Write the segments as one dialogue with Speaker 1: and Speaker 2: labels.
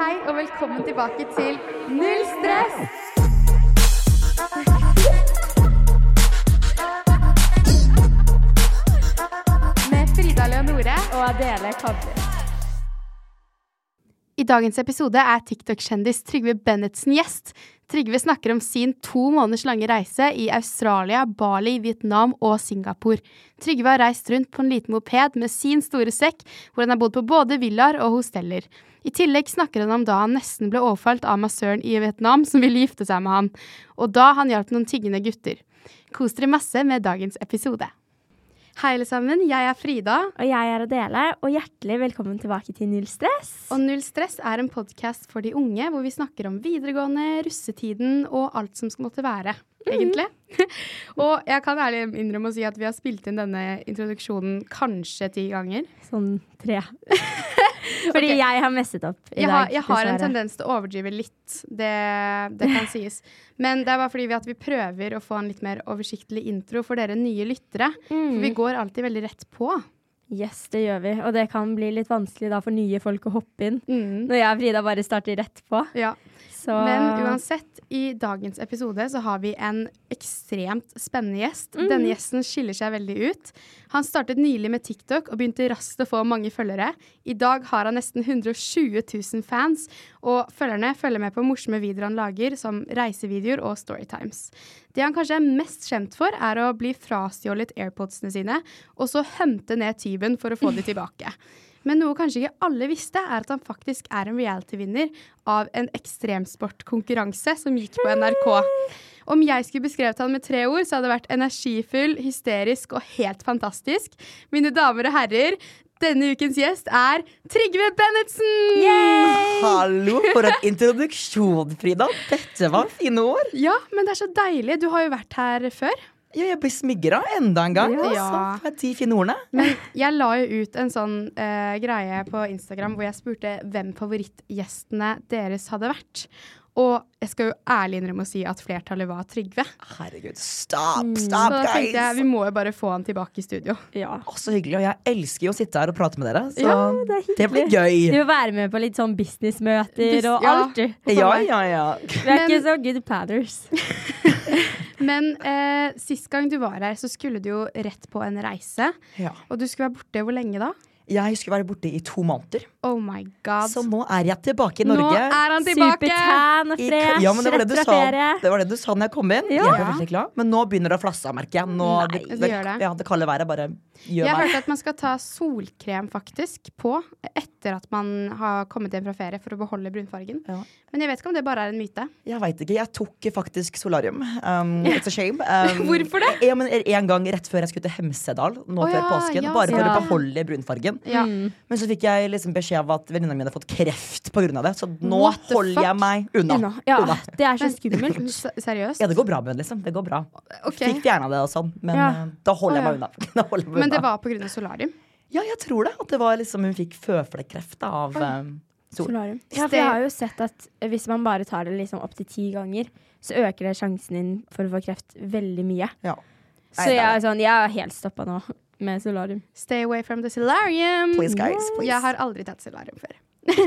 Speaker 1: Hei og velkommen tilbake til Null stress! Med Frida Leonore.
Speaker 2: Og Adele Kavli.
Speaker 1: I dagens episode er TikTok-kjendis Trygve Bennetsen gjest. Trygve snakker om sin to måneders lange reise i Australia, Bali, Vietnam og Singapore. Trygve har reist rundt på en liten moped med sin store sekk, hvor han har bodd på både villaer og hosteller. I tillegg snakker han om da han nesten ble overfalt av massøren i Vietnam, som ville gifte seg med han, og da han hjalp noen tiggende gutter. Kos dere masse med dagens episode. Hei, alle sammen. Jeg er Frida.
Speaker 2: Og jeg er Adele, og hjertelig velkommen tilbake til Null stress.
Speaker 1: Og Null stress er en podkast for de unge, hvor vi snakker om videregående, russetiden og alt som skal måtte være,
Speaker 2: Mm.
Speaker 1: egentlig. og jeg kan ærlig innrømme å si at vi har spilt inn denne introduksjonen kanskje ti ganger.
Speaker 2: Sånn tre. Fordi
Speaker 1: Ok.
Speaker 2: jeg har messet opp i
Speaker 1: Jeg, har,
Speaker 2: dag.
Speaker 1: jeg har en
Speaker 2: dessverre.
Speaker 1: tendens til å overdrive litt, det, det kan sies. Men det er bare fordi vi, at vi prøver å få en litt mer oversiktlig intro for dere nye lyttere.
Speaker 2: Mm.
Speaker 1: For vi går alltid veldig rett på.
Speaker 2: Yes, det gjør vi. Og det kan bli litt vanskelig da for nye folk å hoppe inn.
Speaker 1: Mm.
Speaker 2: Når jeg og Frida bare starter rett på.
Speaker 1: Ja.
Speaker 2: Så
Speaker 1: Men uansett, i dagens episode så har vi en ekstremt spennende gjest. Denne gjesten skiller seg veldig ut. Han startet nylig med TikTok og begynte raskt å få mange følgere. I dag har han nesten 120 000 fans, og følgerne følger med på morsomme videoer han lager, som reisevideoer og Storytimes. Det han kanskje er mest kjent for, er å bli frastjålet airpodsene sine, og så hømte ned tyven for å få de tilbake. Men noe kanskje ikke alle visste, er at han faktisk er en reality-vinner av en ekstremsportkonkurranse som gikk på NRK. Om jeg skulle beskrevet han med tre ord, så hadde det vært energifull, hysterisk og helt fantastisk. Mine damer og herrer, denne ukens gjest er Trygve Bennetsen!
Speaker 3: Hallo, for en introduksjon, Frida. Dette var fine ord.
Speaker 1: Ja, men det er så deilig. Du har jo vært her før.
Speaker 3: Ja, jeg blir smigra enda en gang.
Speaker 1: Ja.
Speaker 3: altså, for de fine ordene.
Speaker 1: Men jeg la jo ut en sånn eh, greie på Instagram hvor jeg spurte hvem favorittgjestene deres hadde vært. Og jeg skal jo ærlig innrømme å si at flertallet var Trygve.
Speaker 3: Herregud, stop,
Speaker 1: Så Mm,
Speaker 3: stop,
Speaker 1: da tenkte jeg vi
Speaker 3: guys!
Speaker 1: må jo bare få han tilbake i studio.
Speaker 2: ja.
Speaker 3: Å, så hyggelig. Og jeg elsker jo å sitte her og prate med dere, så
Speaker 1: Ja,
Speaker 2: Det er
Speaker 3: det, blir
Speaker 2: Du
Speaker 3: gøy.
Speaker 2: vil være med på litt sånn businessmøter
Speaker 1: Bus-
Speaker 2: og
Speaker 1: ja.
Speaker 2: alt, du.
Speaker 3: Ja, ja, ja.
Speaker 2: Vi er
Speaker 1: Men-
Speaker 2: ikke så good planners.
Speaker 1: Men eh, sist gang du var her, så skulle du jo rett på en reise.
Speaker 3: ja.
Speaker 1: Og du skulle være borte hvor lenge da?
Speaker 3: Jeg skulle være borte i to måneder,
Speaker 1: Oh my god.
Speaker 3: så nå er jeg tilbake i
Speaker 1: Nå
Speaker 3: Norge.
Speaker 1: er han tilbake!
Speaker 2: Supertan og
Speaker 3: I-
Speaker 2: fresh,
Speaker 3: ja, men det, var det,
Speaker 2: rett
Speaker 3: du
Speaker 2: fra
Speaker 3: sa,
Speaker 2: ferie.
Speaker 3: det var det du sa når jeg kom inn.
Speaker 2: Ja.
Speaker 3: Jeg ble veldig glad. Men nå begynner det å flasse, merker jeg. Nå,
Speaker 2: Nei,
Speaker 1: det
Speaker 3: det,
Speaker 1: gjør det.
Speaker 3: Ja, det kalde været bare gjør
Speaker 1: Jeg
Speaker 3: meg
Speaker 1: hørte at man skal ta solkrem faktisk på etter at man har kommet hjem fra ferie for å beholde brunfargen.
Speaker 3: Ja.
Speaker 1: Men jeg vet ikke om det bare er en myte.
Speaker 3: Jeg veit ikke. Jeg tok faktisk solarium. Um, it's a shame. Um,
Speaker 1: Hvorfor det?
Speaker 3: Ja, men En gang rett før jeg skulle til Hemsedal, nå
Speaker 1: Å
Speaker 3: før
Speaker 1: ja,
Speaker 3: påsken.
Speaker 1: ja,
Speaker 3: bare for
Speaker 2: ja.
Speaker 3: å beholde brunfargen.
Speaker 1: Ja.
Speaker 3: Men så fikk jeg liksom beskjed av at venninna mi hadde fått kreft pga. det. Så nå
Speaker 1: What the
Speaker 3: holder
Speaker 1: fuck?
Speaker 3: jeg meg unna.
Speaker 2: Unna. Ja,
Speaker 3: Unna.
Speaker 2: det er så skummelt.
Speaker 1: S- Seriøst?
Speaker 3: Ja, det går bra med henne, liksom. Det går bra.
Speaker 1: Ok.
Speaker 3: Fikk fjerna det og sånn, men
Speaker 2: Ja.
Speaker 3: eh, da holder jeg
Speaker 1: Å,
Speaker 3: meg unna. Da holder jeg meg
Speaker 1: Men det
Speaker 3: unna.
Speaker 1: var pga. solarium.
Speaker 3: Ja, jeg tror det. At det var liksom hun fikk føflekkreft da, av um, sol.
Speaker 2: Solarium. Ja, for jeg har jo sett at hvis man bare tar det liksom opptil ti ganger, så øker det sjansen din for å få kreft veldig mye.
Speaker 3: Ja.
Speaker 2: Så
Speaker 3: Nei, det
Speaker 2: jeg
Speaker 3: er
Speaker 2: er sånn, jeg er helt stoppa nå med solarium.
Speaker 1: Stay away from the solarium.
Speaker 3: Please, guys. Please.
Speaker 1: Jeg har aldri tatt solarium før.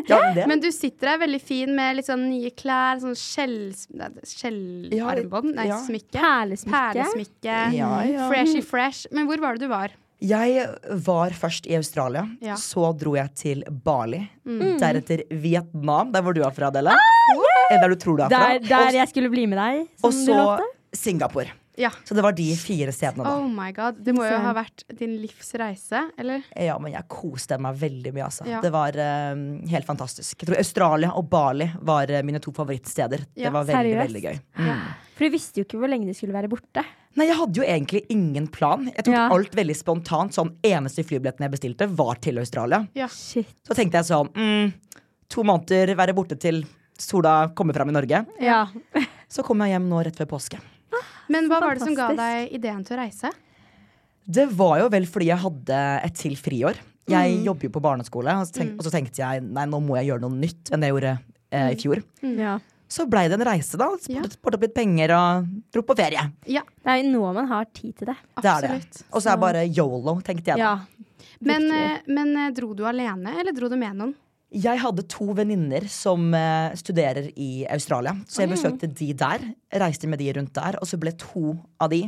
Speaker 3: Ja, det.
Speaker 1: Men du sitter der veldig fin med litt sånn nye klær, sånn skjell- nei,
Speaker 3: Ja,
Speaker 1: skjellarmbånd, nei,
Speaker 3: ja.
Speaker 1: smykke.
Speaker 2: Perlesmykke.
Speaker 1: Perlesmykke.
Speaker 3: Ja, ja.
Speaker 1: Freshy fresh. Men hvor var det du var?
Speaker 3: Jeg var først i Australia.
Speaker 1: Ja.
Speaker 3: Så dro jeg til Bali.
Speaker 2: Mm.
Speaker 3: Deretter Vietnam, der hvor du er fra, Adele. Eh, Der du tror du er fra.
Speaker 2: Ah, Der, der jeg skulle bli med deg, som
Speaker 3: og
Speaker 2: du
Speaker 3: så
Speaker 2: lovte.
Speaker 3: Singapore.
Speaker 1: Ja.
Speaker 3: Så det var de fire stedene, da.
Speaker 1: Oh my god. Det må jo
Speaker 2: Søren.
Speaker 1: ha vært din livs reise, eller?
Speaker 3: Ja, men jeg koste meg veldig mye, altså.
Speaker 1: Ja.
Speaker 3: Det var eh, helt fantastisk. Jeg tror Australia og Bali var eh, mine to favorittsteder.
Speaker 1: Ja,
Speaker 3: det var veldig,
Speaker 2: seriøst?
Speaker 3: veldig gøy.
Speaker 2: For du visste jo ikke hvor lenge du skulle være borte.
Speaker 3: Nei, jeg hadde jo egentlig ingen plan. Jeg tok
Speaker 2: Ja.
Speaker 3: alt veldig spontant. Sånn eneste flybilletten jeg bestilte, var til Australia.
Speaker 1: Ja.
Speaker 2: Shit.
Speaker 3: Så tenkte jeg sånn mm, To måneder, være borte til sola kommer fram i Norge.
Speaker 2: Ja.
Speaker 3: Så kom jeg hjem nå rett før påske.
Speaker 1: Men hva var det som ga
Speaker 2: Fantastisk.
Speaker 1: deg ideen til å reise?
Speaker 3: Det var jo vel fordi jeg hadde et til friår. Jeg
Speaker 1: Mm.
Speaker 3: jobber jo på barneskole, og så, tenk, og så tenkte jeg nei, nå må jeg gjøre noe nytt enn det jeg gjorde eh, i fjor.
Speaker 2: ja.
Speaker 3: Så blei det en reise, da.
Speaker 1: Mm. Ja.
Speaker 3: Spart spart opp litt penger og dro på ferie.
Speaker 1: Ja,
Speaker 2: Det er jo nå man har tid til det.
Speaker 3: Det er det.
Speaker 1: absolutt.
Speaker 3: Og så er det bare yolo, tenkte jeg. da.
Speaker 2: Ja.
Speaker 1: Men,
Speaker 2: Riktig.
Speaker 1: eh, men eh, dro du alene, eller dro du med noen?
Speaker 3: Jeg hadde to venninner som eh, studerer i Australia, så jeg besøkte de der. Reiste med de rundt der, og så ble to av de,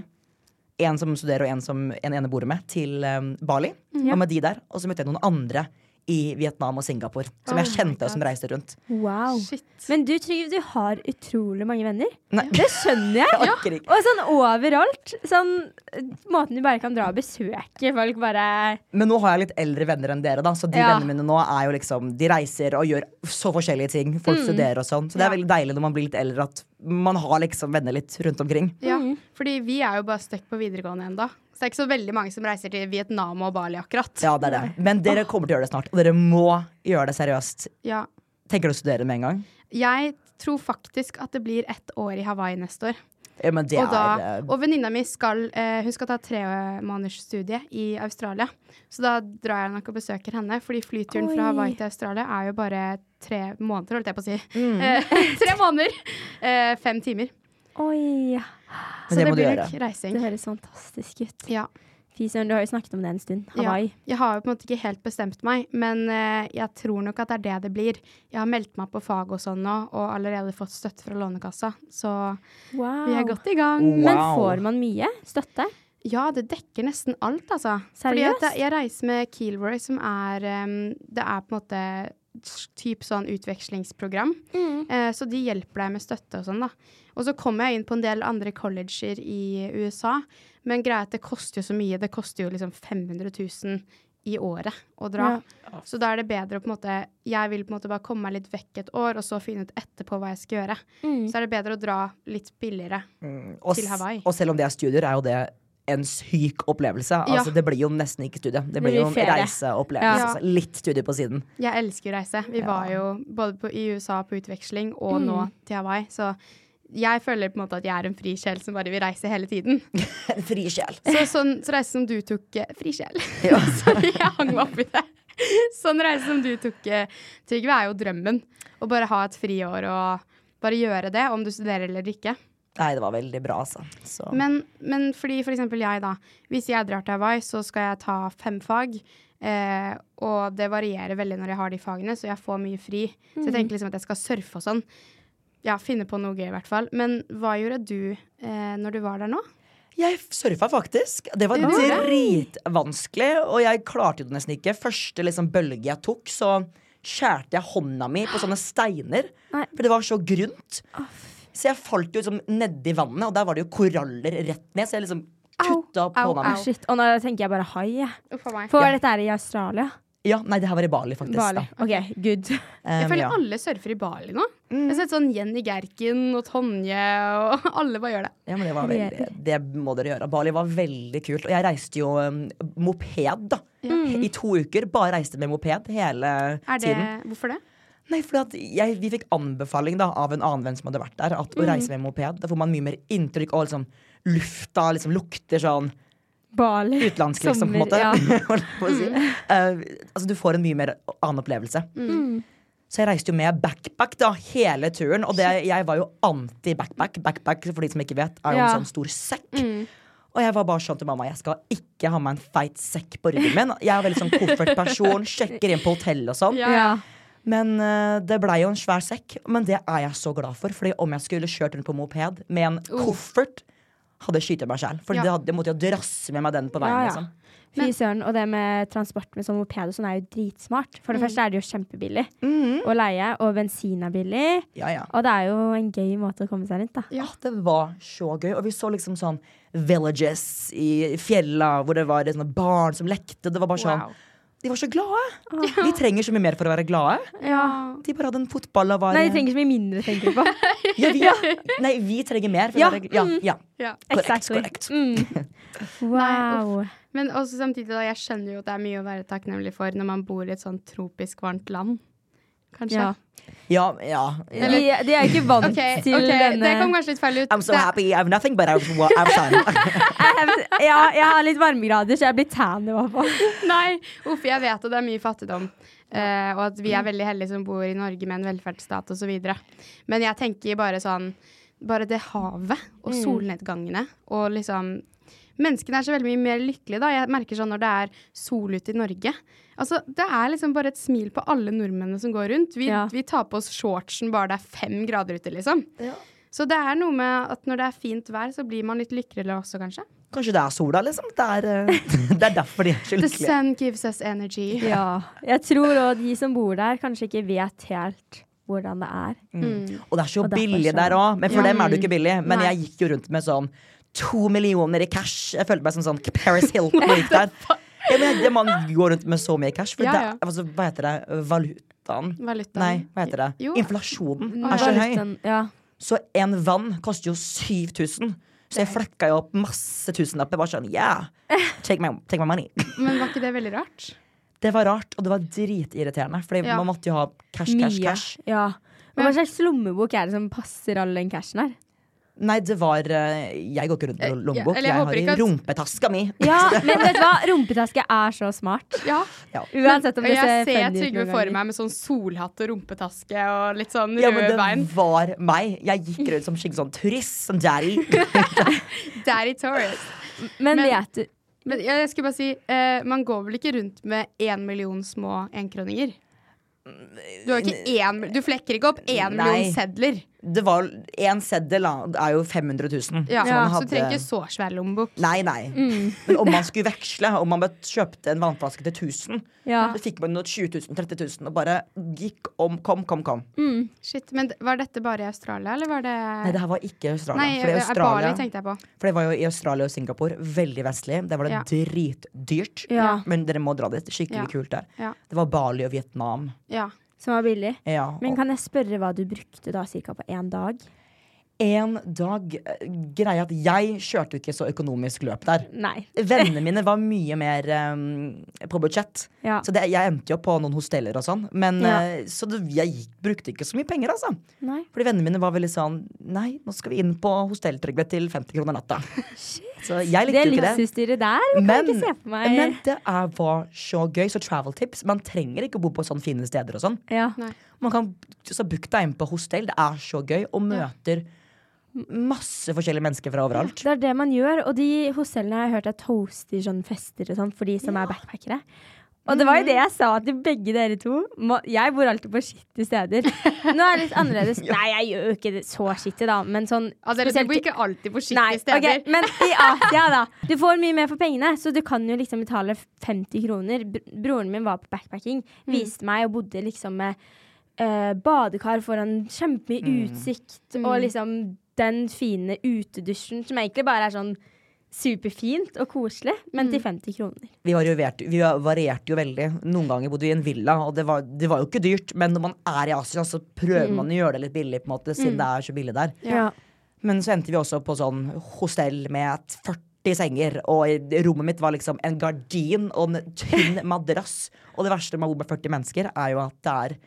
Speaker 3: en som studerer og en som en ene bor med, til eh, Bali.
Speaker 2: Ja.
Speaker 3: Og med de der, og så møtte jeg noen andre i Vietnam og Singapore, som
Speaker 1: Oh
Speaker 3: jeg
Speaker 1: my
Speaker 3: kjente og som
Speaker 1: God.
Speaker 3: reiste rundt. Oh.
Speaker 2: Wow.
Speaker 1: Shit.
Speaker 2: Men du Trygve, du har utrolig mange venner.
Speaker 3: Nei.
Speaker 2: Det skjønner jeg.
Speaker 3: Jeg orker ikke.
Speaker 2: Og sånn overalt. Sånn eh, måten du bare kan dra og besøke folk bare
Speaker 3: Men nå har jeg litt eldre venner enn dere, da, så de
Speaker 2: Ja.
Speaker 3: vennene mine nå er jo liksom De reiser og gjør så forskjellige ting. Folk studerer og sånn. Så det er veldig deilig når man blir litt eldre, at man har liksom venner litt rundt omkring.
Speaker 1: Ja, fordi vi er jo bare stuck på videregående ennå. Så det er ikke så veldig mange som reiser til Vietnam og Bali akkurat.
Speaker 3: Ja, det er det. Men dere kommer til å gjøre det snart, og dere må gjøre det seriøst.
Speaker 1: Ja.
Speaker 3: Tenker du å studere med en gang?
Speaker 1: Jeg tror faktisk at det blir ett år i Hawaii neste år.
Speaker 3: Ja, men det
Speaker 1: Og, da,
Speaker 3: er eh,
Speaker 1: og venninna mi skal, eh, hun skal ta tremånedersstudie i Australia. Så da drar jeg nok og besøker henne, fordi flyturen
Speaker 2: Oi.
Speaker 1: fra Hawaii til Australia er jo bare tre måneder, holdt jeg på å si.
Speaker 3: Mm.
Speaker 1: Eh, tre måneder! Eh, fem timer.
Speaker 2: Oi.
Speaker 3: Men
Speaker 1: Så
Speaker 3: det
Speaker 1: det,
Speaker 3: må du
Speaker 1: blir
Speaker 3: gjøre.
Speaker 1: nok reising.
Speaker 2: Det høres fantastisk ut.
Speaker 1: Ja.
Speaker 2: Fy søren, du har jo snakket om det en stund.
Speaker 1: Ja.
Speaker 2: Hawaii.
Speaker 1: Jeg har jo på en måte ikke helt bestemt meg, men eh, jeg tror nok at det er det det blir. Jeg har meldt meg på fag og sånn nå, og allerede fått støtte fra Lånekassa, så
Speaker 2: Wow.
Speaker 1: vi er godt i gang.
Speaker 3: Oh, Wow.
Speaker 2: Men får man mye støtte?
Speaker 1: Ja, det dekker nesten alt, altså. Fordi
Speaker 2: Seriøst?
Speaker 1: at jeg, jeg reiser med Keelroy, som er em, Det er på en måte s- typ sånn utvekslingsprogram. Eh, så de hjelper deg med støtte og sånn, da. Og så kommer jeg inn på en del andre colleger i USA, men greia er at det koster jo så mye. Det koster jo liksom 500 000 i året å dra. Så da er det bedre å på en måte Jeg vil på en måte bare komme meg litt vekk et år, og så finne ut etterpå hva jeg skal gjøre. Så er det bedre å dra litt billigere.
Speaker 3: og,
Speaker 1: til
Speaker 3: s-
Speaker 1: Hawaii.
Speaker 3: og selv om det er studier, er jo det en syk opplevelse.
Speaker 1: Ja.
Speaker 3: Altså, det blir jo nesten ikke studie. Det blir
Speaker 2: blir
Speaker 3: jo en
Speaker 2: ferie.
Speaker 3: reiseopplevelse.
Speaker 1: Ja.
Speaker 3: Altså, litt studie på siden.
Speaker 1: Jeg elsker å reise. Vi var jo både på, i USA på utveksling og nå til Hawaii, så jeg føler på en måte at jeg er en fri sjel som bare vil reise hele tiden.
Speaker 3: En fri sjel.
Speaker 1: Så sånn så reise som du tok eh, Fri sjel. Sorry, jeg hang meg opp i det. Sånn reise som du tok, eh, Trygve, er jo drømmen. Å bare ha et friår og bare gjøre det, om du studerer eller ikke.
Speaker 3: Nei, det var veldig bra, altså. Så.
Speaker 1: Men, men fordi for eksempel jeg, da. Hvis jeg drar til Hawaii, så skal jeg ta fem fag. Eh, og det varierer veldig når jeg har de fagene, så jeg får mye fri. Så jeg tenker liksom at jeg skal surfe og sånn. Ja, finne på noe gøy, i hvert fall. Men hva gjorde du eh, når du var der nå?
Speaker 3: Jeg surfa faktisk. Det var
Speaker 1: Du gjorde
Speaker 3: dritvanskelig, og jeg klarte det nesten ikke. Første liksom bølge jeg tok, så skjærte jeg hånda mi på sånne steiner.
Speaker 2: Nei.
Speaker 3: For det var så grunt. Så jeg falt jo liksom nedi vannet, og der var det jo koraller rett ned. Så jeg liksom kutta opp
Speaker 1: au, au.
Speaker 3: hånda mi.
Speaker 2: Ah, Shit. Og nå tenker jeg bare hai. jeg.
Speaker 1: Uff a meg.
Speaker 2: For dette er i Australia.
Speaker 3: Ja, nei, det her var i Bali, faktisk.
Speaker 2: Bali.
Speaker 3: Da.
Speaker 2: OK, good.
Speaker 3: Um,
Speaker 1: Jeg føler
Speaker 3: ja. Mm.
Speaker 1: alle surfer i Bali nå. Jeg har sett sånn Jenny Gerken og Tonje, og alle bare gjør det.
Speaker 3: Ja, men det, var veldig, det må dere gjøre. Bali var veldig kult. Og jeg reiste jo um, moped da. i to uker. Bare reiste med moped hele
Speaker 1: Er det
Speaker 3: tiden.
Speaker 1: Hvorfor det?
Speaker 3: Nei, fordi at jeg, Vi fikk anbefaling da, av en annen venn som hadde vært der, at
Speaker 1: Mm.
Speaker 3: å reise med moped Da får man mye mer inntrykk av liksom, lufta liksom, lukter sånn
Speaker 2: Bali.
Speaker 3: utenlandsk, liksom, på en
Speaker 2: Sommer,
Speaker 3: måte.
Speaker 2: ja. Mm.
Speaker 3: Holdt på å si. Eh, altså, du får en mye mer annen opplevelse.
Speaker 2: Mm.
Speaker 3: Så jeg reiste jo med backpack da, hele turen, og det, jeg var jo anti-backpack. Backpack for de som ikke vet, er jo
Speaker 2: Ja. Mm.
Speaker 3: en sånn stor sekk. Og jeg var bare sånn til mamma Jeg skal ikke ha meg en feit sekk på ryggen min. Jeg er veldig sånn koffertperson, sjekker inn på hotell og sånn.
Speaker 2: Ja.
Speaker 3: Men eh, det blei jo en svær sekk, men det er jeg så glad for. Fordi om jeg skulle kjørt rundt på moped
Speaker 2: Oh.
Speaker 3: med en koffert, hadde jeg skytt meg sjæl. For
Speaker 1: Ja.
Speaker 3: det hadde, jeg måtte jo drasse med meg den på veien.
Speaker 2: Ja, ja.
Speaker 3: Liksom.
Speaker 2: Fy søren. Og det med transport med sånn moped og sånn er jo dritsmart. For det
Speaker 1: Mm.
Speaker 2: første er det jo kjempebillig
Speaker 3: Mm.
Speaker 2: å leie, og bensin er billig.
Speaker 3: Ja, ja.
Speaker 2: Og det er jo en gøy måte å komme seg rundt, da.
Speaker 1: Ja.
Speaker 3: Ah, det var så gøy. Og vi så liksom sånn villages i fjella hvor det var sånne barn som lekte. Det var bare sånn
Speaker 1: Wow.
Speaker 3: De var så glade! De trenger så mye mer for å være glade. De bare hadde en fotball og var
Speaker 2: Nei, de trenger så mye mindre, tenker du på.
Speaker 3: ja, vi, ja. Nei, vi trenger mer. For
Speaker 2: Ja,
Speaker 3: å være, ja, ja.
Speaker 1: Ja.
Speaker 3: Korrekt.
Speaker 2: Exactly.
Speaker 3: korrekt.
Speaker 2: Wow.
Speaker 1: Men også samtidig, da, jeg skjønner jo at det er mye å være takknemlig for når man bor i et sånn tropisk varmt land. Kanskje.
Speaker 2: Ja.
Speaker 3: Ja, ja. ja.
Speaker 2: De, de er jo ikke vant
Speaker 1: Ok,
Speaker 2: til
Speaker 1: ok, Det kom
Speaker 2: denne
Speaker 1: kanskje litt feil ut.
Speaker 3: I'm so
Speaker 1: Det-
Speaker 3: happy. I'm nothing but I'm, I'm shining.
Speaker 2: Ja, jeg har litt varmegrader, så jeg blir tan i hvert fall.
Speaker 1: Nei, uff, jeg vet at det er mye fattigdom. eh, og at vi er veldig heldige som bor i Norge med en velferdsstat osv. Men jeg tenker bare sånn Bare det havet og solnedgangene og liksom Menneskene er så veldig mye mer lykkelige, da. Jeg merker sånn når det er sol ute i Norge. Altså, Det er liksom bare et smil på alle nordmennene som går rundt. Vi,
Speaker 2: Ja.
Speaker 1: vi tar på oss shortsen bare det er fem grader ute, liksom. Så det er noe med at når det er fint vær, så blir man litt lykkeligere også, kanskje.
Speaker 3: Kanskje det er sola, liksom. Det er, eh, det er derfor de er så
Speaker 1: The
Speaker 3: lykkelige.
Speaker 1: sun gives us energy.
Speaker 2: Ja. Jeg tror òg de som bor der, kanskje ikke vet helt hvordan det er.
Speaker 3: Mm. Og det er så
Speaker 2: Og derfor
Speaker 3: billig
Speaker 2: så-
Speaker 3: der òg. Men for
Speaker 1: Ja.
Speaker 3: dem er det jo ikke billig. Men
Speaker 1: Nei.
Speaker 3: jeg gikk jo rundt med sånn to millioner i cash. Jeg følte meg som sånn Paris Hilton når jeg gikk der. Ja, men jeg- det Man går rundt med så mye cash. For
Speaker 1: Ja,
Speaker 3: det,
Speaker 1: ja.
Speaker 3: er- altså, hva heter det? Valutaen.
Speaker 1: Valutaen.
Speaker 3: Nei, hva heter det?
Speaker 1: Jo.
Speaker 3: Inflasjonen er så høy.
Speaker 2: Mm. Valutaen- Ja.
Speaker 3: Så en vann koster jo 7000. Så jeg flekka jo opp masse tusenlapper. Bare sånn, yeah, take my, take my money.
Speaker 1: Men var ikke det veldig rart?
Speaker 3: Det var rart, og det var dritirriterende. Fordi
Speaker 1: Ja.
Speaker 3: man måtte jo ha cash, cash,
Speaker 2: Mye.
Speaker 3: cash.
Speaker 2: Ja. Men hva slags lommebok er det som passer all den cashen her?
Speaker 3: Nei, det var eh, Jeg går ikke rundt
Speaker 1: Eh, ja,
Speaker 3: med lommebok.
Speaker 1: eller jeg
Speaker 3: jeg,
Speaker 1: håper ikke
Speaker 3: har
Speaker 1: at-
Speaker 3: i rumpetaska mi.
Speaker 2: Ja, men vet du hva? Rumpetaske er så smart.
Speaker 1: Ja.
Speaker 2: Uansett om det
Speaker 1: jeg
Speaker 2: ser
Speaker 1: ser
Speaker 2: funny ut
Speaker 1: Trygve
Speaker 2: noen
Speaker 1: for
Speaker 2: ganger.
Speaker 1: meg med sånn solhatt og rumpetaske og litt sånn
Speaker 3: Ja,
Speaker 1: rød
Speaker 3: men det
Speaker 1: bein.
Speaker 3: var meg. Jeg gikk rundt som skikkelig sånn turist. Som daddy.
Speaker 1: Daddy Torres.
Speaker 2: Men
Speaker 1: Men-
Speaker 2: vet du
Speaker 1: Men jeg jeg skulle bare si, eh, man går vel ikke rundt med én million små enkroninger? Du, har ikke én, du flekker ikke opp én million
Speaker 3: Mm. Nei.
Speaker 1: sedler.
Speaker 3: Det var én seddel da, det er jo 500 000.
Speaker 1: Ja, Så
Speaker 3: så man
Speaker 1: du
Speaker 3: Sånn hadde-
Speaker 1: trenger ikke Mm. så svær lommebok.
Speaker 3: Nei, nei. Men om man skulle veksle, om man bet- kjøpte en vannflaske til 1000,
Speaker 2: Ja.
Speaker 3: så fikk man noe 20 000, 30 000 og bare gikk om. Kom, kom, kom.
Speaker 2: Mm.
Speaker 1: Shit, men d- Var dette bare i Australia, eller var det
Speaker 3: Nei, det her var ikke Australia.
Speaker 1: Nei,
Speaker 3: for, det er
Speaker 1: eh, Bali
Speaker 3: Australia
Speaker 1: tenkte jeg på.
Speaker 3: for det var jo i Australia og Singapore. Veldig vestlig. Der var det
Speaker 1: Ja.
Speaker 3: dritdyrt.
Speaker 2: Ja.
Speaker 3: Men dere må dra dit. Skikkelig
Speaker 1: Ja.
Speaker 3: kult der.
Speaker 1: Ja.
Speaker 3: Det var Bali og Vietnam.
Speaker 1: Ja.
Speaker 2: Som var billig.
Speaker 3: Ja.
Speaker 2: Men
Speaker 3: og
Speaker 2: kan jeg spørre hva du brukte da, cirka på én dag?
Speaker 3: en dag eh, Greia at jeg kjørte jo ikke så økonomisk løp der.
Speaker 2: Nei.
Speaker 3: Vennene mine var mye mer eh, på budsjett.
Speaker 2: Ja.
Speaker 3: Så det, jeg endte jo på noen hosteller og sånn. Men,
Speaker 2: Ja.
Speaker 3: eh, Så det, jeg gikk, brukte ikke så mye penger, altså.
Speaker 2: Nei.
Speaker 3: Fordi vennene mine var veldig sånn Nei, nå skal vi inn på hostelltrygve til 50 kroner natta. Så jeg likte
Speaker 2: Det
Speaker 3: jo ikke det.
Speaker 2: livsutstyret der det kan jeg
Speaker 3: Men,
Speaker 2: ikke se for meg.
Speaker 3: men det er, var så gøy. Så travel tips. Man trenger ikke å bo på sånne fine steder og sånn.
Speaker 2: ja.
Speaker 1: Nei.
Speaker 3: Man kan så book deg inn på hostell. Det er så gøy. Og møter masse forskjellige mennesker fra overalt.
Speaker 2: Det er det man gjør, og de hostellene har jeg hørt at hoster sånn fester og sånn for de som er backpackere. Og det var jo det jeg sa til begge dere to. Må, jeg bor alltid på skittige steder. Nå er det litt annerledes. Nei, jeg gjør jo ikke det så skittig, da, men sånn
Speaker 1: Altså, eller, du bor ikke alltid på
Speaker 2: Nei,
Speaker 1: skittige steder.
Speaker 2: ok, men i Asia, da. Du får mye mer for pengene, så du kan jo liksom betale 50 kroner. Br- Broren min var på backpacking,
Speaker 1: Mm.
Speaker 2: viste meg og bodde liksom med eh, badekar foran kjempemye utsikt
Speaker 1: Mm.
Speaker 2: og liksom den fine utedusjen, som egentlig bare er sånn superfint og koselig, men
Speaker 1: Mm.
Speaker 2: til 50 kroner.
Speaker 3: Vi, varierte, vi varierte jo veldig. Noen ganger bodde vi i en villa, og det var, det var jo ikke dyrt. Men når man er i Asia, så prøver man å gjøre det litt billig, på en måte, siden det er så billig der.
Speaker 2: Ja.
Speaker 3: Men så endte vi også på sånn hostell med et 40 senger, og i- rommet mitt var liksom en gardin og en tynn madrass. Og det verste med å bo med 40 mennesker, er jo at det er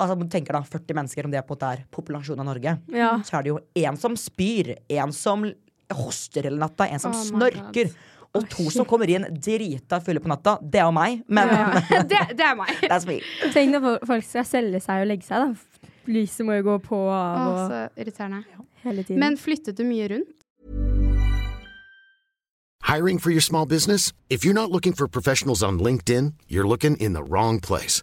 Speaker 3: Altså, du tenker da, 40 mennesker, om det på en måte er populasjonen av Norge,
Speaker 2: Ja.
Speaker 3: så er det jo en som spyr, en som hoster hele natta, en som
Speaker 1: Oh my
Speaker 3: snorker. Og to som kommer inn drita fulle på natta. Det er jo meg, men
Speaker 1: det, det er meg.
Speaker 3: that's me.
Speaker 2: Tenk når fol- folk skal selge seg og legge seg, da. Lyset må jo gå på og
Speaker 1: Å,
Speaker 2: av og
Speaker 1: så irriterende.
Speaker 2: hele tiden.
Speaker 1: Men flyttet du mye rundt?
Speaker 4: Hiring for your small business? If you're not looking for professionals on LinkedIn, you're looking in the wrong place.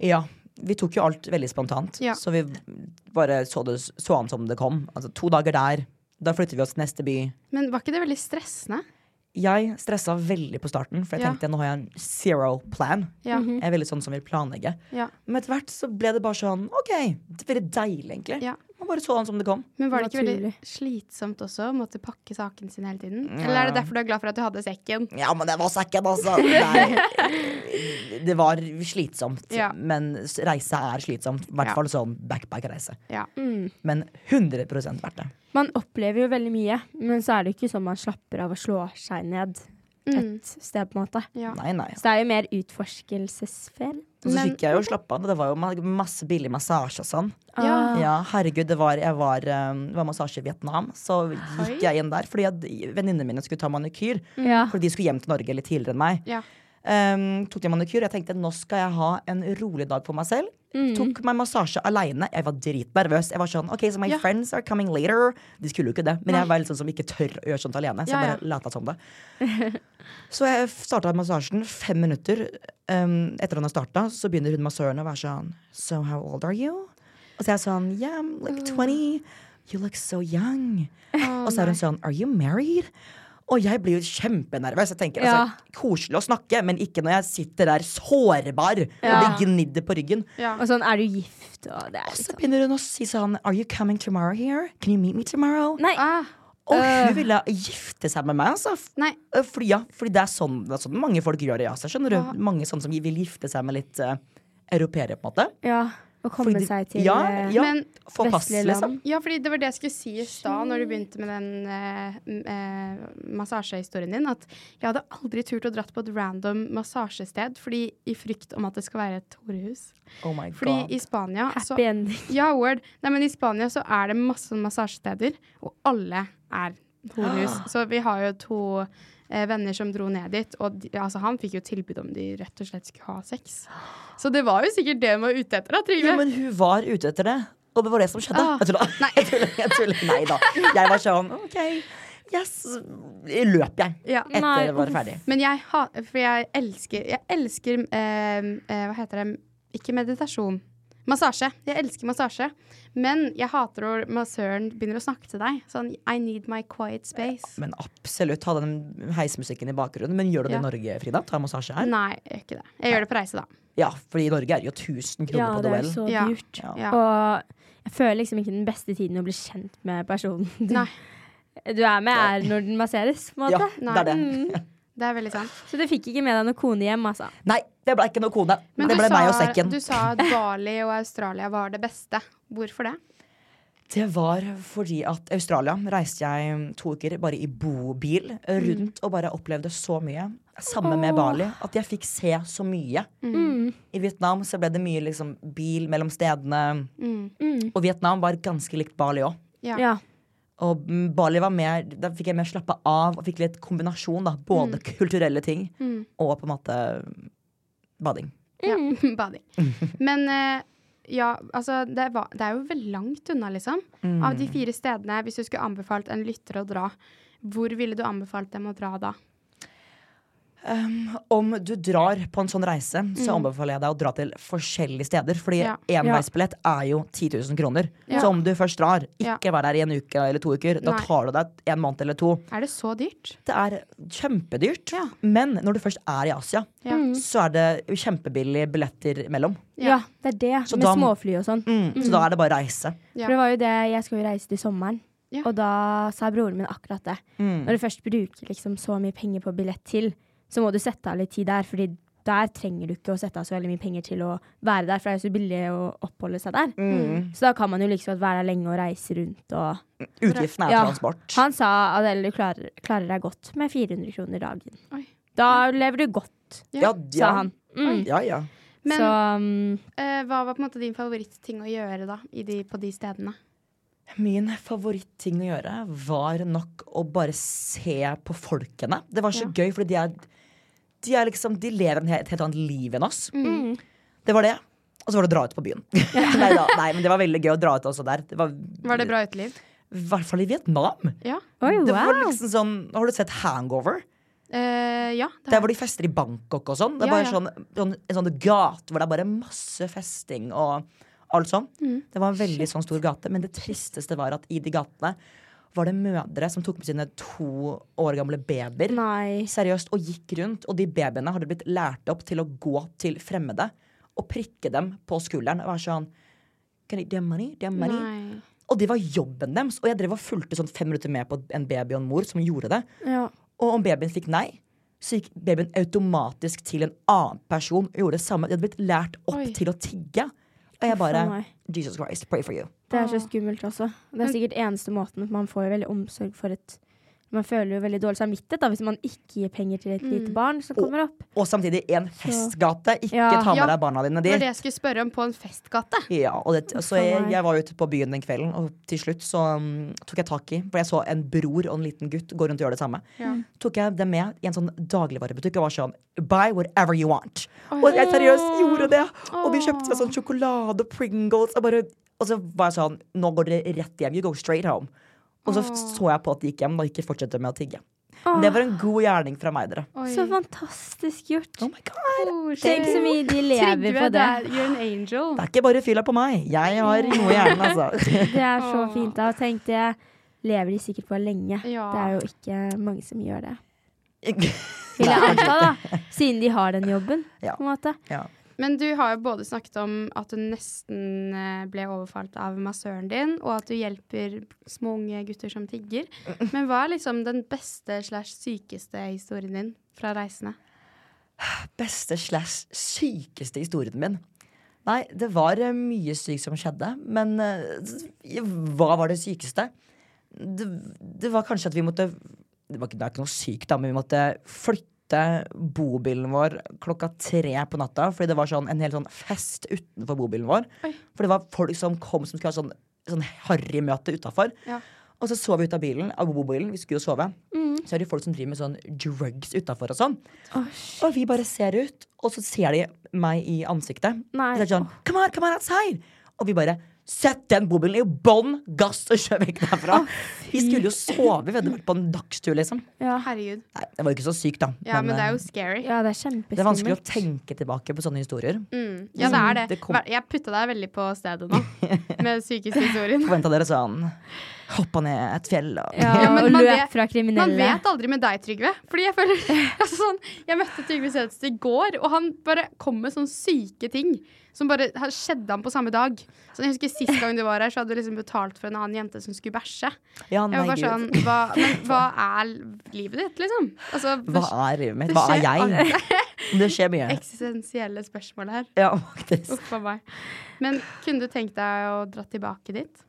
Speaker 3: Ja, vi tok jo alt veldig spontant,
Speaker 1: Ja.
Speaker 3: så vi bare så, det, så an som det kom. Altså to dager der, da flytter vi oss til neste by.
Speaker 1: Men var ikke det veldig stressende?
Speaker 3: Jeg stressa veldig på starten, for jeg
Speaker 1: Ja.
Speaker 3: tenkte nå har jeg en zero plan.
Speaker 1: Ja.
Speaker 3: Jeg er veldig sånn som vil planlegge.
Speaker 1: ja.
Speaker 3: Men etter hvert så ble det bare sånn OK, det er veldig deilig, egentlig.
Speaker 1: Ja.
Speaker 3: Man bare så an som det kom.
Speaker 1: Men var det ikke veldig
Speaker 2: Naturlig.
Speaker 1: slitsomt også å måtte pakke sakene sine hele tiden? Eller er det derfor du er glad for at du hadde sekken?
Speaker 3: Ja, men det var sekken, altså! Nei. Det var slitsomt,
Speaker 1: Ja.
Speaker 3: men s- reise er slitsomt. I hvert
Speaker 1: Ja.
Speaker 3: fall sånn backpack-reise.
Speaker 1: Ja.
Speaker 3: Men 100 verdt det.
Speaker 2: Man opplever jo veldig mye, men så er det jo ikke sånn man slapper av og slår seg ned et sted, på en måte.
Speaker 1: ja.
Speaker 3: Nei, nei.
Speaker 2: Så det er jo mer utforskelsesferie.
Speaker 3: Og så
Speaker 1: Men-
Speaker 3: fikk jeg jo slappe av. Det var jo ma- masse billig massasje og sånn.
Speaker 1: Ja.
Speaker 3: Ja, herregud, det var, jeg var, um, det var massasje i Vietnam. Så
Speaker 1: Oi.
Speaker 3: gikk jeg inn der fordi jeg- venninnene mine skulle ta manikyr.
Speaker 2: Ja.
Speaker 3: Fordi de skulle hjem til Norge litt tidligere enn meg.
Speaker 1: Ja.
Speaker 3: Um, tok de manikyr, jeg tenkte nå skal jeg ha en rolig dag for meg selv.
Speaker 1: Mm.
Speaker 3: Tok meg massasje aleine. Jeg var dritnervøs. Jeg var sånn, ok, so my
Speaker 1: Ja.
Speaker 3: friends are coming later De skulle jo ikke det, men jeg var litt sånn som ikke tør å gjøre sånt alene. Så
Speaker 1: Ja,
Speaker 3: jeg
Speaker 1: ja.
Speaker 3: bare lata som det. Så jeg starta massasjen fem minutter um, etter han har starta. Så begynner hun massøren å være sånn So how old are you? Og så er jeg sånn Yeah, I'm like 20. You look so young. og så er hun sånn Are you married? Og jeg blir jo kjempenervøs. Jeg tenker,
Speaker 2: Ja.
Speaker 3: altså, Koselig å snakke, men ikke når jeg sitter der sårbar og det gnidder på ryggen.
Speaker 1: Ja.
Speaker 2: Og sånn er du gift, og det er
Speaker 3: Og så
Speaker 2: liksom
Speaker 3: begynner hun å si sånn Are you coming tomorrow here? Can you meet me tomorrow?
Speaker 2: Nei!
Speaker 1: Ah,
Speaker 2: Øh.
Speaker 3: Og hun ville gifte seg med meg, altså.
Speaker 1: nei.
Speaker 3: Eh, Fordi, ja, fordi det, er sånn, det er sånn mange folk gjør det. Ja, så skjønner du? Mange sånne som vil gifte seg med litt uh, europeere, på en måte.
Speaker 2: Ja. Å komme
Speaker 3: Fordi-
Speaker 2: seg til
Speaker 3: ja,
Speaker 2: eh,
Speaker 3: ja.
Speaker 1: Men
Speaker 3: Få pass,
Speaker 2: vestlige
Speaker 3: liksom.
Speaker 2: land.
Speaker 1: ja, fordi det var det jeg skulle si i stad når du begynte med den eh, m- eh, massasjehistorien din, at jeg hadde aldri turt å dratt på et random massasjested fordi i frykt om at det skal være et horehus.
Speaker 3: Oh my
Speaker 1: Fordi
Speaker 3: god.
Speaker 1: i Spania så,
Speaker 2: happy ending.
Speaker 1: Ja, word. Nei, men i Spania så er det masse massasjesteder, og alle er horehus. Så vi har jo to eh, venner som dro ned dit, og de, altså, han fikk jo tilbud om de rett og slett skulle ha sex. Så det var jo sikkert det hun var ute etter, da, Trygve.
Speaker 3: Jo, men hun var ute etter det, og det var det som skjedde.
Speaker 1: Ah,
Speaker 3: Jeg tuller. Jeg tuller. Jeg tuller. Nei da. Jeg var sånn OK, yes. Løp jeg
Speaker 1: Ja.
Speaker 3: etter
Speaker 2: Nei,
Speaker 3: jeg var
Speaker 2: uff.
Speaker 3: ferdig.
Speaker 1: Men jeg, ha, for jeg elsker, jeg elsker eh, eh, Hva heter det? Ikke meditasjon. Massasje. Jeg elsker massasje. Men jeg hater når massøren begynner å snakke til deg. Sånn I need my quiet space.
Speaker 3: Men absolutt ha den heismusikken i bakgrunnen. Men gjør du det
Speaker 1: Ja.
Speaker 3: i Norge, Frida? Ta massasje her?
Speaker 1: Nei, jeg gjør ikke det. Jeg gjør det på reise, da.
Speaker 3: Ja, fordi i Norge er det jo 1000 kroner
Speaker 2: Ja,
Speaker 3: på
Speaker 2: det er
Speaker 3: duell.
Speaker 2: så
Speaker 1: Ja.
Speaker 2: dyrt.
Speaker 3: Ja.
Speaker 1: Ja.
Speaker 2: Og jeg føler liksom ikke den beste tiden å bli kjent med personen du,
Speaker 1: Nei.
Speaker 2: du er med, er når den masseres, på en
Speaker 3: Ja,
Speaker 2: måte. mm.
Speaker 3: det er det.
Speaker 1: Det er veldig sånn. sant.
Speaker 2: Så du fikk ikke med deg noen kone hjem, altså.
Speaker 3: Nei, det ble ikke noe kone.
Speaker 1: Men
Speaker 3: det
Speaker 1: du
Speaker 3: ble
Speaker 1: sa,
Speaker 3: meg og sekken.
Speaker 1: Du sa at Bali og Australia var det beste. Hvorfor det?
Speaker 3: Det var fordi at Australia reiste jeg to uker bare i bobil rundt og bare opplevde så mye. Sammen med Bali. At jeg fikk se så mye. I Vietnam så ble det mye liksom, bil mellom stedene. Og Vietnam var ganske likt Bali òg.
Speaker 1: Ja.
Speaker 2: Ja.
Speaker 3: Og mm, Bali var mer, Da fikk jeg mer slappe av og fikk litt kombinasjon. da Både kulturelle ting og på en måte mm, bading.
Speaker 1: Ja, bading. Men eh, ja, altså det, var, det er jo veldig langt unna, liksom. Av de fire stedene, hvis du skulle anbefalt en lytter å dra, hvor ville du anbefalt dem å dra da?
Speaker 3: Om du drar på en sånn reise, så anbefaler jeg deg å dra til forskjellige steder. Fordi
Speaker 1: Ja.
Speaker 3: enveisbillett er jo 10 000 kroner.
Speaker 1: Ja.
Speaker 3: Så om du først drar,
Speaker 1: Ja.
Speaker 3: ikke vær der i en uke eller to uker. Da
Speaker 1: Nei.
Speaker 3: tar du deg en måned eller to.
Speaker 1: Er det så dyrt?
Speaker 3: Det er kjempedyrt.
Speaker 1: Ja.
Speaker 3: Men når du først er i Asia,
Speaker 1: Ja.
Speaker 3: så er det kjempebillige billetter imellom.
Speaker 2: Ja. det er det.
Speaker 3: Så
Speaker 2: med
Speaker 3: da-
Speaker 2: småfly og sånn.
Speaker 3: Mm. Så da er det bare å reise.
Speaker 1: Ja.
Speaker 2: For det var jo det, jeg skal jo reise til sommeren.
Speaker 1: Ja.
Speaker 2: Og da sa broren min akkurat det. Når du først bruker liksom så mye penger på billett til, så må du sette av litt tid der, fordi der trenger du ikke å sette av så veldig mye penger til å være der, for det er jo så billig å oppholde seg der.
Speaker 3: Mm.
Speaker 2: Så da kan man jo liksom være der lenge og reise rundt og
Speaker 3: Utgiftene er
Speaker 2: Ja.
Speaker 3: transport.
Speaker 2: Han sa at du klarer, klarer deg godt med 400 kroner dagen.
Speaker 1: Oi.
Speaker 2: Da lever du godt,
Speaker 3: Ja,
Speaker 2: sa
Speaker 3: ja.
Speaker 2: han. Mm.
Speaker 3: Ja, ja.
Speaker 1: Men
Speaker 2: Så mm,
Speaker 1: eh, hva var på en måte din favorittting å gjøre da, i de, på de stedene?
Speaker 3: Min favorittting å gjøre var nok å bare se på folkene. Det var så gøy, fordi de er, de er liksom De lever en he- et helt annet liv enn oss.
Speaker 1: Mm.
Speaker 3: Det var det. Og så var det å dra ut på byen. nei, da, nei, men det var veldig gøy å dra ut også der. Det var,
Speaker 1: Var det bra uteliv?
Speaker 3: I hvert fall i Vietnam.
Speaker 1: Ja.
Speaker 2: Oi,
Speaker 3: Det var
Speaker 2: wow!
Speaker 3: liksom sånn, Har du sett Hangover?
Speaker 1: Eh, ja. det
Speaker 3: Der
Speaker 1: har
Speaker 3: hvor de fester i Bangkok og sånn. Det er
Speaker 1: Ja,
Speaker 3: bare
Speaker 1: ja.
Speaker 3: Sånn, sånn, en sånn gate hvor det er bare masse festing og alt sånn.
Speaker 1: Mm.
Speaker 3: Det var en veldig sånn stor gate, men det tristeste var at i de gatene var det mødre som tok med sine to år gamle babyer
Speaker 2: Nei.
Speaker 3: seriøst og gikk rundt, og de babyene hadde blitt lært opp til å gå til fremmede og prikke dem på skulderen og være sånn Can I, do you have money? Do you have money?
Speaker 1: Nei.
Speaker 3: Og det var jobben deres. Og jeg drev og fulgte sånn fem minutter med på en baby og en mor som gjorde det.
Speaker 2: Ja.
Speaker 3: Og om babyen fikk nei, så gikk babyen automatisk til en annen person og gjorde det samme. De hadde blitt lært opp
Speaker 1: Oi.
Speaker 3: til å tigge. Og jeg bare
Speaker 2: Faen meg.
Speaker 3: Jesus Christ, pray for you.
Speaker 2: Det er så skummelt også. Det er sikkert eneste måten Man får jo veldig omsorg for et Man føler jo veldig dårlig samvittighet da, hvis man ikke gir penger til et
Speaker 1: Mm.
Speaker 2: lite barn som kommer opp.
Speaker 3: Og samtidig en festgate. Ikke
Speaker 2: Ja.
Speaker 3: ta med
Speaker 1: Ja.
Speaker 3: deg barna dine
Speaker 1: Det var det
Speaker 3: dit.
Speaker 1: jeg skulle spørre om på en festgate.
Speaker 3: Ja, og det, så
Speaker 2: Faen
Speaker 3: jeg,
Speaker 2: meg.
Speaker 3: jeg var ute på byen den kvelden, og til slutt så um, tok jeg tak i For jeg så en bror og en liten gutt gå rundt og gjøre det samme.
Speaker 1: Ja.
Speaker 3: Tok jeg dem med i en sånn dagligvarebutikk og var sånn Buy whatever you want. Og jeg seriøst gjorde det. Og de kjøpte seg sånn sjokolade og Pringles. Og, bare, og så var jeg sånn Nå går dere rett hjem. You go straight home. Og så f- så jeg på at de gikk hjem og ikke fortsatte med å tigge. Men Det var en god gjerning fra meg, dere.
Speaker 1: Oi.
Speaker 2: Så fantastisk gjort.
Speaker 3: Oh my god.
Speaker 2: Tenk så mye de lever på
Speaker 1: Trygve,
Speaker 2: det.
Speaker 1: du er- You're an angel.
Speaker 3: Det er ikke bare fylla på meg. Jeg har noe i hjernen, altså.
Speaker 2: Det er så fint. da Tenk det lever de sikkert på lenge.
Speaker 1: Ja.
Speaker 2: Det er jo ikke mange som gjør det. Vil jeg anta, da. Siden de har den jobben,
Speaker 3: Ja.
Speaker 2: på en måte.
Speaker 3: ja.
Speaker 1: Men du har jo både snakket om at du nesten eh, ble overfalt av massøren din, og at du hjelper små unge gutter som tigger. Men hva er liksom den beste slash sykeste historien din fra reisene?
Speaker 3: beste slash sykeste historien min. Nei, det var eh, mye sykt som skjedde, men eh, hva var det sykeste? Det, det var kanskje at vi måtte Det var ikke, det er ikke noe sykt, da, men vi måtte flytte bobilen vår klokka tre på natta. Fordi det var sånn, en hel sånn fest utenfor bobilen vår. For det var folk som kom som skulle ha sånn, sånn harrymøte utafor.
Speaker 1: Ja.
Speaker 3: Og så så vi ut av bilen, av bobilen, vi skulle jo sove. Så er det jo folk som driver med sånn drugs utafor og sånn. Og vi bare ser ut, og så ser de meg i ansiktet.
Speaker 2: Nei.
Speaker 3: Og så er det sånn, come on, come on outside! Og vi bare Sett den bobilen i bånn, gass og kjør vekk derfra! vi skulle jo sove, vi hadde vært på en dagstur, liksom.
Speaker 2: Ja.
Speaker 1: Herregud.
Speaker 3: Nei, det var jo ikke så sykt, da.
Speaker 1: Ja, men, det er
Speaker 3: eh,
Speaker 1: jo scary.
Speaker 2: ja, det er
Speaker 3: det er vanskelig å
Speaker 2: kjempeskummelt.
Speaker 3: tenke tilbake på sånne historier.
Speaker 1: Mm. Ja, det er det.
Speaker 3: Det kom-
Speaker 1: Hver- Jeg putta deg veldig på stedet nå, med sykeste historien.
Speaker 3: Forventa dere sånn hoppa ned et fjell og
Speaker 2: Ja,
Speaker 1: Ja, men
Speaker 2: og
Speaker 1: man
Speaker 2: løp
Speaker 1: vet-
Speaker 2: fra
Speaker 1: Man
Speaker 2: kriminelle.
Speaker 1: vet aldri med deg, Trygve. Fordi Jeg føler altså sånn, Jeg møtte Trygve Sedestad i går, og han bare kom med sånne syke ting. Som bare han- skjedde han på samme dag. Så jeg husker Sist gang du var her, så hadde du liksom betalt for en annen jente som skulle bæsje. Jeg
Speaker 3: Ja,
Speaker 1: var
Speaker 3: nei,
Speaker 1: bare
Speaker 3: gud.
Speaker 1: sånn, hva, Men hva er livet ditt, liksom? Altså,
Speaker 3: Hva
Speaker 1: det
Speaker 3: er livet mitt?
Speaker 1: det
Speaker 3: Hva
Speaker 1: skjer
Speaker 3: er jeg? Det skjer mye.
Speaker 1: eksistensielle spørsmål her.
Speaker 3: Ja, faktisk.
Speaker 1: Uff a meg. Men kunne du tenkt deg å dra tilbake dit?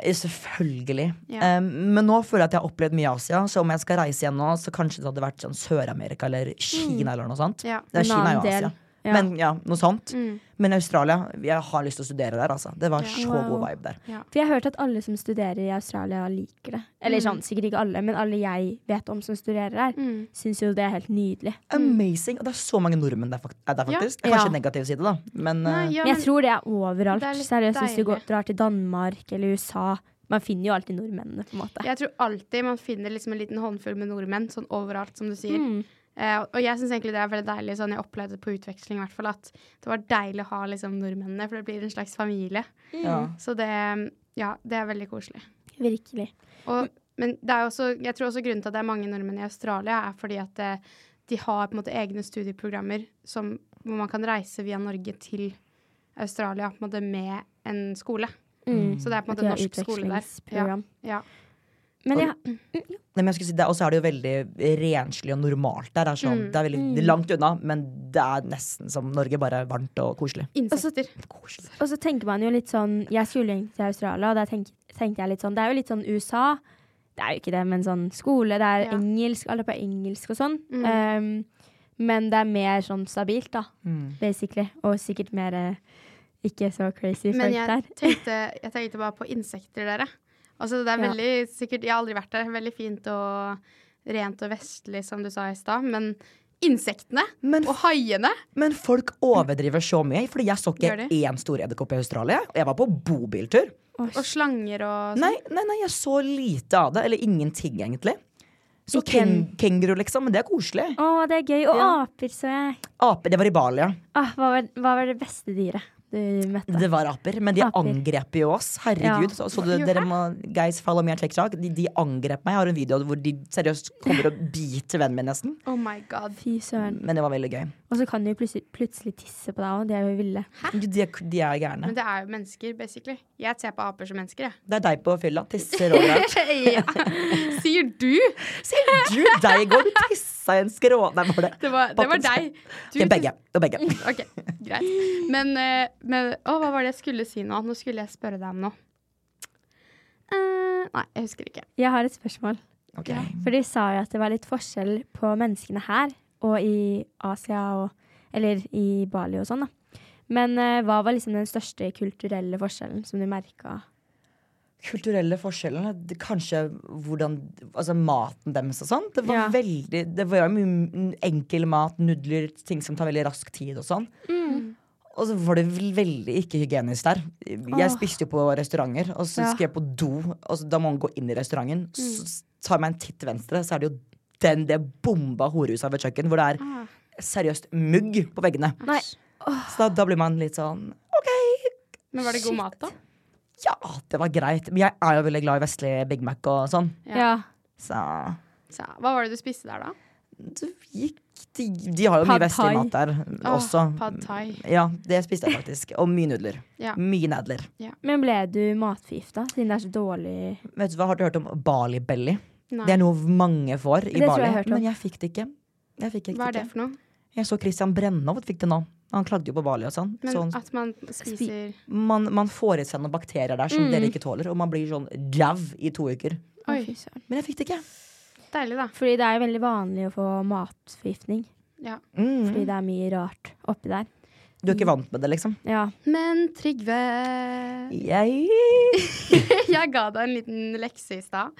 Speaker 3: Eh, Selvfølgelig.
Speaker 1: Ja.
Speaker 3: Um, men nå føler jeg at jeg har opplevd mye Asia, så om jeg skal reise igjen nå, så kanskje det hadde vært sånn Sør-Amerika eller Kina eller noe sånt.
Speaker 1: Ja.
Speaker 3: Det
Speaker 2: En
Speaker 3: er Kina er jo
Speaker 2: annen del.
Speaker 3: Asia.
Speaker 2: Ja.
Speaker 3: Men ja, noe sånt.
Speaker 1: Mm.
Speaker 3: Men Australia, jeg har lyst til å studere der, altså. Det var
Speaker 1: Ja.
Speaker 3: så god
Speaker 2: Wow.
Speaker 3: vibe der.
Speaker 2: For jeg har hørt at alle som studerer i Australia, liker det. Eller sånn, sikkert ikke alle, men alle jeg vet om som studerer her,
Speaker 1: Mm.
Speaker 2: syns jo det er helt nydelig.
Speaker 3: Amazing. Og det er så mange nordmenn der, fak er der
Speaker 1: Ja.
Speaker 3: faktisk. Det er Kanskje
Speaker 2: Ja.
Speaker 3: en negativ side, da. Men
Speaker 1: Nei,
Speaker 3: eh,
Speaker 1: ja,
Speaker 2: Men jeg
Speaker 1: men-
Speaker 2: tror det er overalt.
Speaker 1: det er litt
Speaker 2: Seriøst, hvis du
Speaker 1: deilig.
Speaker 2: går, drar til Danmark eller USA Man finner jo alltid nordmennene, på en måte.
Speaker 1: Jeg tror alltid man finner liksom en liten håndfull med nordmenn sånn overalt, som du sier.
Speaker 2: Mm.
Speaker 1: Eh, og jeg syns egentlig det er veldig deilig, sånn jeg opplevde det på utveksling i hvert fall, at det var deilig å ha liksom nordmennene, for det blir en slags familie.
Speaker 3: ja.
Speaker 1: Så det Ja, det er veldig koselig.
Speaker 2: Virkelig.
Speaker 1: Og, men det er jo også, jeg tror også grunnen til at det er mange nordmenn i Australia, er fordi at eh, de har på en måte egne studieprogrammer som, hvor man kan reise via Norge til Australia på en måte med en skole. Mm. Så det er på en måte
Speaker 2: Mm. At de har
Speaker 1: norsk skole der. Ja,
Speaker 2: utvekslingsprogram.
Speaker 1: ja.
Speaker 2: Men jeg,
Speaker 3: Nei, men jeg skulle si det, Og så er det jo veldig renslig og normalt der. Det er, sånn, det er veldig det er langt unna, men det er nesten som Norge, bare varmt og koselig.
Speaker 1: Insekter.
Speaker 2: og så tenker man jo litt sånn Jeg skulle egentlig til Australia, og der tenk, tenkte jeg litt sånn Det er jo litt sånn USA. Det er jo ikke det, men sånn skole, det er
Speaker 1: Ja. Mm.
Speaker 2: engelsk, alle på engelsk og sånn. Ehm, men det er mer sånn stabilt, da.
Speaker 3: Mm.
Speaker 2: Basically. Og sikkert mer eh, ikke så crazy
Speaker 1: Men
Speaker 2: folk
Speaker 1: jeg
Speaker 2: der.
Speaker 1: tenkte, jeg tenkte bare på insekter, dere. Altså, det er
Speaker 2: Ja.
Speaker 1: veldig sikkert Jeg har aldri vært der. Veldig fint og rent og vestlig, som du sa i stad. Men insektene
Speaker 3: Men-
Speaker 1: og haiene
Speaker 3: Men folk overdriver så mye. Fordi jeg så
Speaker 1: Gjør
Speaker 3: ikke
Speaker 1: de?
Speaker 3: én stor edderkopp i Australia. og Jeg var på bobiltur.
Speaker 1: og slanger og sånn.
Speaker 3: Nei, nei, nei, jeg så lite av det. Eller ingenting, egentlig. Så ken kenguru, liksom. Men det er koselig.
Speaker 2: Å, det er gøy. Og aper, så jeg.
Speaker 3: Ape, det var i Bali, ja.
Speaker 2: Ah, hva, var, hva var det beste dyret du møtte?
Speaker 3: Det var aper. Men de
Speaker 2: Aper.
Speaker 3: angrep jo oss. Herregud.
Speaker 2: Ja.
Speaker 3: Så, så du, dere må Guys, follow me on TikTok. De, de angrep meg. Jeg har en video hvor de seriøst kommer og biter vennen min, nesten.
Speaker 1: Oh my god.
Speaker 2: Fy søren.
Speaker 3: Men det var veldig gøy.
Speaker 2: Og så kan de jo plutselig, plutselig tisse på deg òg. De er jo ville.
Speaker 3: De, er- de er gærne.
Speaker 1: Men det er jo mennesker, basically. Jeg ser på aper som mennesker, jeg.
Speaker 3: Det er deg på fylla. Tisser overalt.
Speaker 1: ja. Sier du!
Speaker 3: Sier du deg i går? Du tissa i en skrå... Nei, var det
Speaker 1: Det var, det var deg. Du-
Speaker 3: Det er begge. Det er begge.
Speaker 1: OK, greit. Men, eh, men Å, hva var det jeg skulle si nå? Nå skulle jeg spørre deg om noe. Eh, nei, jeg husker ikke.
Speaker 2: Jeg har et spørsmål.
Speaker 3: Ok.
Speaker 2: For de sa jo at det var litt forskjell på menneskene her og i Asia og Eller i Bali og sånn, da. Men eh, hva var liksom den største kulturelle forskjellen som du merka?
Speaker 3: kulturelle forskjellene det- Kanskje hvordan Altså maten deres og sånn. Det var
Speaker 2: Ja.
Speaker 3: veldig Det var jo mye enkel mat, nudler, ting som tar veldig rask tid og sånn.
Speaker 2: Mm.
Speaker 3: Og så var det vel- veldig ikke hygienisk der. Jeg
Speaker 2: Åh.
Speaker 3: spiste jo på restauranter, og så
Speaker 2: Ja. Mm.
Speaker 3: skulle jeg på do. Og så, da må man gå inn i restauranten. Så s- tar jeg meg en titt til venstre, så er det jo den det bomba horehuset ved kjøkken, hvor det er
Speaker 2: Ah.
Speaker 3: seriøst mugg på veggene.
Speaker 2: Nei. Ah.
Speaker 3: Så da, da blir man litt sånn OK,
Speaker 1: Men var det god mat, da?
Speaker 3: ja, det var greit. Men jeg er jo veldig glad i vestlig Big Mac og sånn.
Speaker 2: Ja.
Speaker 3: Så
Speaker 1: Så, hva var det du spiste der, da?
Speaker 3: det gikk de, de har jo
Speaker 2: Pad
Speaker 3: mye vestlig
Speaker 2: thai.
Speaker 3: mat der
Speaker 1: Åh,
Speaker 3: også.
Speaker 1: Ah, Pad thai.
Speaker 3: Ja, det spiste jeg faktisk. Og mye nudler.
Speaker 1: Ja.
Speaker 3: Mye nedler.
Speaker 2: Men ble du matforgifta siden det er så dårlig
Speaker 3: Vet du hva, Har du hørt om Bali belly?
Speaker 1: Nei.
Speaker 3: Det er noe mange får i
Speaker 2: Det tror jeg
Speaker 3: Bali.
Speaker 2: jeg har hørt om.
Speaker 3: men jeg fikk det ikke. Jeg, fikk det
Speaker 1: Hva er det
Speaker 3: ikke.
Speaker 1: for noe?
Speaker 3: jeg så Christian Brennhoft fikk det nå. Han klagde jo på Bali og sånn.
Speaker 1: Men
Speaker 3: sånn
Speaker 1: at man spiser
Speaker 3: man, man får i seg noen bakterier der som dere ikke tåler, og man blir sånn jau i to uker.
Speaker 1: Oi,
Speaker 2: Fy søren.
Speaker 3: Men jeg fikk det ikke.
Speaker 1: deilig, da.
Speaker 2: Fordi det er jo veldig vanlig å få matforgiftning.
Speaker 1: Ja.
Speaker 3: Mm.
Speaker 2: Fordi det er mye rart oppi der.
Speaker 3: Du er ikke vant med det, liksom.
Speaker 2: Ja.
Speaker 1: Men Trygve
Speaker 3: Jeg
Speaker 1: Jeg ga deg en liten lekse i stad.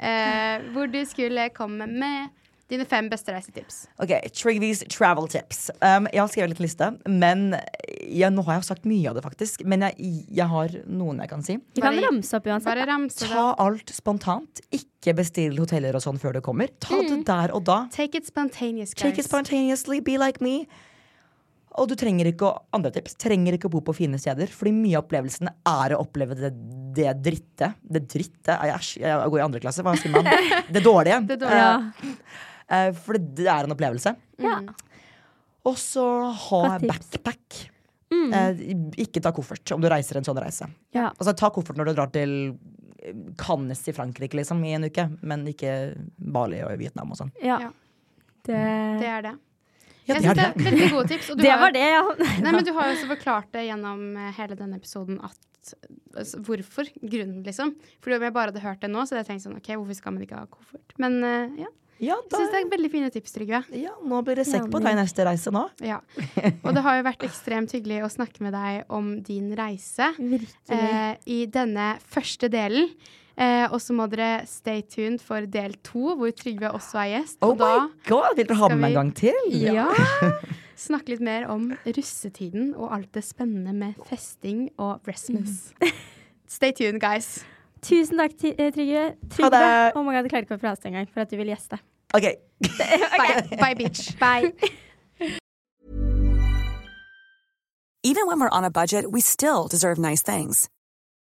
Speaker 1: Eh, hvor du skulle komme med dine fem beste reisetips.
Speaker 3: Ok, Trigvies travel tips. Um, jeg har skrevet litt liste, men eh, ja, nå har jeg jo sagt mye av det, faktisk. Men jeg, jeg har noen jeg kan si.
Speaker 2: Vi kan
Speaker 1: Bare-
Speaker 2: ramse opp uansett.
Speaker 1: Bare ramse det.
Speaker 3: Altså, Ta alt spontant. Ikke bestill hoteller og sånn før du kommer. Ta
Speaker 1: Mm.
Speaker 3: det der og da.
Speaker 1: Take it spontaneous, guys.
Speaker 3: Take it spontaneously, be like me. Og du trenger ikke å, andre tips, trenger ikke å bo på fine steder, fordi mye av opplevelsen er å oppleve det, det dritte. Det dritte? Nei, Æsj, jeg går i andre klasse, hva sier man? Det dårlige.
Speaker 1: Det dårlige.
Speaker 2: Ja.
Speaker 3: Eh, eh, for det er en opplevelse.
Speaker 2: ja.
Speaker 1: mm.
Speaker 3: Og så ha
Speaker 2: Godt tips.
Speaker 3: backpack.
Speaker 1: Mm.
Speaker 3: Eh, ikke ta koffert om du reiser en sånn reise.
Speaker 2: ja.
Speaker 3: Altså Ta koffert når du drar til eh, Cannes i Frankrike liksom, i en uke, men ikke Bali og Vietnam og sånn.
Speaker 2: ja.
Speaker 1: Ja.
Speaker 2: Det,
Speaker 1: Det
Speaker 2: det,
Speaker 1: er det.
Speaker 3: Ja,
Speaker 1: Jeg
Speaker 3: det
Speaker 1: syns
Speaker 3: er
Speaker 1: det er
Speaker 3: det.
Speaker 1: veldig gode tips. Og du har-
Speaker 2: var det, ja.
Speaker 1: Nei, men du har jo også forklart det gjennom eh, hele denne episoden at altså, Hvorfor? Grunnen, liksom. For om jeg bare hadde hørt det nå, så hadde jeg tenkt sånn OK, hvorfor skal man ikke ha koffert? Men eh, ja.
Speaker 3: Ja,
Speaker 1: Jeg syns det
Speaker 3: da,
Speaker 1: er veldig fine tips, Trygve.
Speaker 3: ja, nå blir det sekk på deg neste reise nå.
Speaker 1: Ja. Og det har jo vært ekstremt hyggelig å snakke med deg om din reise
Speaker 3: Mm,
Speaker 2: Virkelig.
Speaker 1: eh, i denne første delen. Eh, og så må dere stay tuned for del to, hvor Trygve også er gjest.
Speaker 3: Oh
Speaker 1: og da
Speaker 3: my god, Vil dere ha
Speaker 1: skal
Speaker 3: med meg
Speaker 1: vi-
Speaker 3: en gang til?
Speaker 1: ja, snakke litt mer om russetiden og alt det spennende med festing og Rasmus. Stay tuned, guys.
Speaker 2: Tusen takk, Ti- eh, Trygve.
Speaker 3: Ha
Speaker 2: Trygve.
Speaker 3: det.
Speaker 2: Oh my God, jeg klarer ikke å prate engang for at du vil gjeste.
Speaker 3: Ok,
Speaker 1: Bye, bye bitch.
Speaker 2: Bye.
Speaker 5: Even when we're on a budget, we still deserve nice things.